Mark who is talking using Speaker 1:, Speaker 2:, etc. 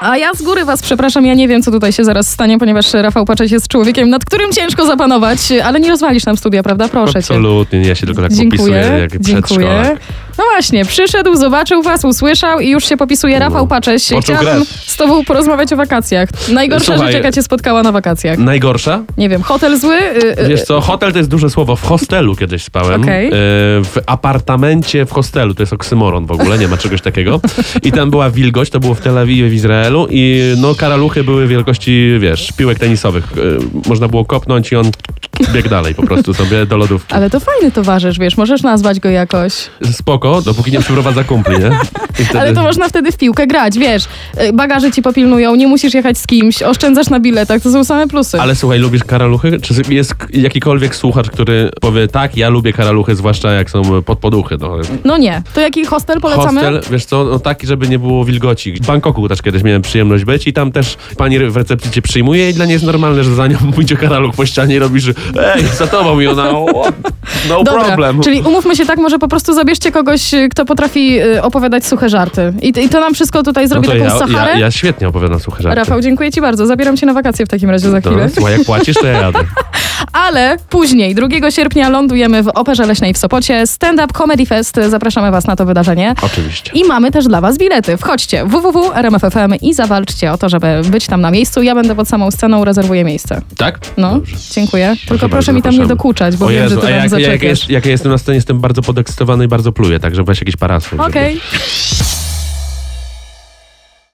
Speaker 1: A ja z góry was przepraszam, ja nie wiem, co tutaj się zaraz stanie, ponieważ Rafał Paczeć jest człowiekiem, nad którym ciężko zapanować, ale nie rozwalisz nam studia, prawda? Proszę cię.
Speaker 2: Absolutnie, ja się tylko tak popisuję
Speaker 1: Dziękuję,
Speaker 2: jak
Speaker 1: dziękuję.
Speaker 2: przedszkolak.
Speaker 1: No właśnie, przyszedł, zobaczył was, usłyszał i już się popisuje. Rafał Paczeć,
Speaker 2: Poczuł
Speaker 1: chciałabym
Speaker 2: grę.
Speaker 1: z tobą porozmawiać o wakacjach. Najgorsza
Speaker 2: Słuchaj.
Speaker 1: rzecz, jaka cię spotkała na wakacjach.
Speaker 2: Najgorsza?
Speaker 1: Nie wiem, hotel zły? Y, y,
Speaker 2: Wiesz co, hotel to jest duże słowo. W hostelu kiedyś spałem.
Speaker 1: Okej.
Speaker 2: E, W apartamencie w hostelu, to jest oksymoron w ogóle, nie ma czegoś takiego. I tam była wilgoć, to było w Tel Awiwie, w Izraelu i no karaluchy były wielkości, wiesz, piłek tenisowych. E, Można było kopnąć i on biegł dalej po prostu sobie do lodówki.
Speaker 1: Ale to fajny towarzysz, wiesz, możesz nazwać go jakoś.
Speaker 2: Spoko, dopóki nie przyprowadza kumpli, nie? I wtedy-
Speaker 1: Ale to można wtedy w piłkę grać, wiesz. Y, Bagaże ci popilnują, nie musisz jechać z kimś, oszczędzasz na biletach, to są same plusy.
Speaker 2: Ale słuchaj, lubisz karaluchy? Czy jest k- jakikolwiek słuchacz, który powie tak, ja lubię karaluchy, zwłaszcza jak są podpoduchy. No.
Speaker 1: No nie. To jaki hostel polecamy?
Speaker 2: Hostel, wiesz co, no taki, żeby nie było wilgoci. W Bangkoku też kiedyś miałem przyjemność być i tam też pani w recepcji cię przyjmuje i dla niej jest normalne, że za nią pójdzie karaluch po ścianie i robisz ej, za tobą i ona, o, no
Speaker 1: Dobra,
Speaker 2: problem.
Speaker 1: czyli umówmy się tak, może po prostu zabierzcie kogoś, y, kto potrafi y, opowiadać suche żarty. I, I to nam wszystko tutaj
Speaker 2: no
Speaker 1: zrobi
Speaker 2: to
Speaker 1: taką
Speaker 2: ja,
Speaker 1: Saharę.
Speaker 2: ja, ja świetnie opowiadam słuchaj żarty.
Speaker 1: Rafał, dziękuję ci bardzo. Zabieram cię na wakacje w takim razie za
Speaker 2: to,
Speaker 1: chwilę.
Speaker 2: słuchaj, jak płacisz, to ja jadę.
Speaker 1: Ale później, 2 sierpnia lądujemy w Operze Leśnej w Sopocie. Stand-up Comedy Fest. Zapraszamy was na to wydarzenie.
Speaker 2: Oczywiście.
Speaker 1: I mamy też dla Was bilety. Wchodźcie www.rmf.fm i zawalczcie o to, żeby być tam na miejscu. Ja będę pod samą sceną, rezerwuję miejsce.
Speaker 2: Tak?
Speaker 1: No,
Speaker 2: Dobrze.
Speaker 1: dziękuję. Tylko
Speaker 2: Proszę
Speaker 1: proszę mi tam
Speaker 2: zapraszamy.
Speaker 1: nie dokuczać, bo
Speaker 2: o
Speaker 1: wiem,
Speaker 2: Jezu,
Speaker 1: że Ty
Speaker 2: a
Speaker 1: tam
Speaker 2: jak, jak,
Speaker 1: zaczepiasz.
Speaker 2: jest, jak ja jestem na scenie, jestem bardzo podekscytowany i bardzo pluję, także weź jakiś parasol. żeby-
Speaker 1: Okej.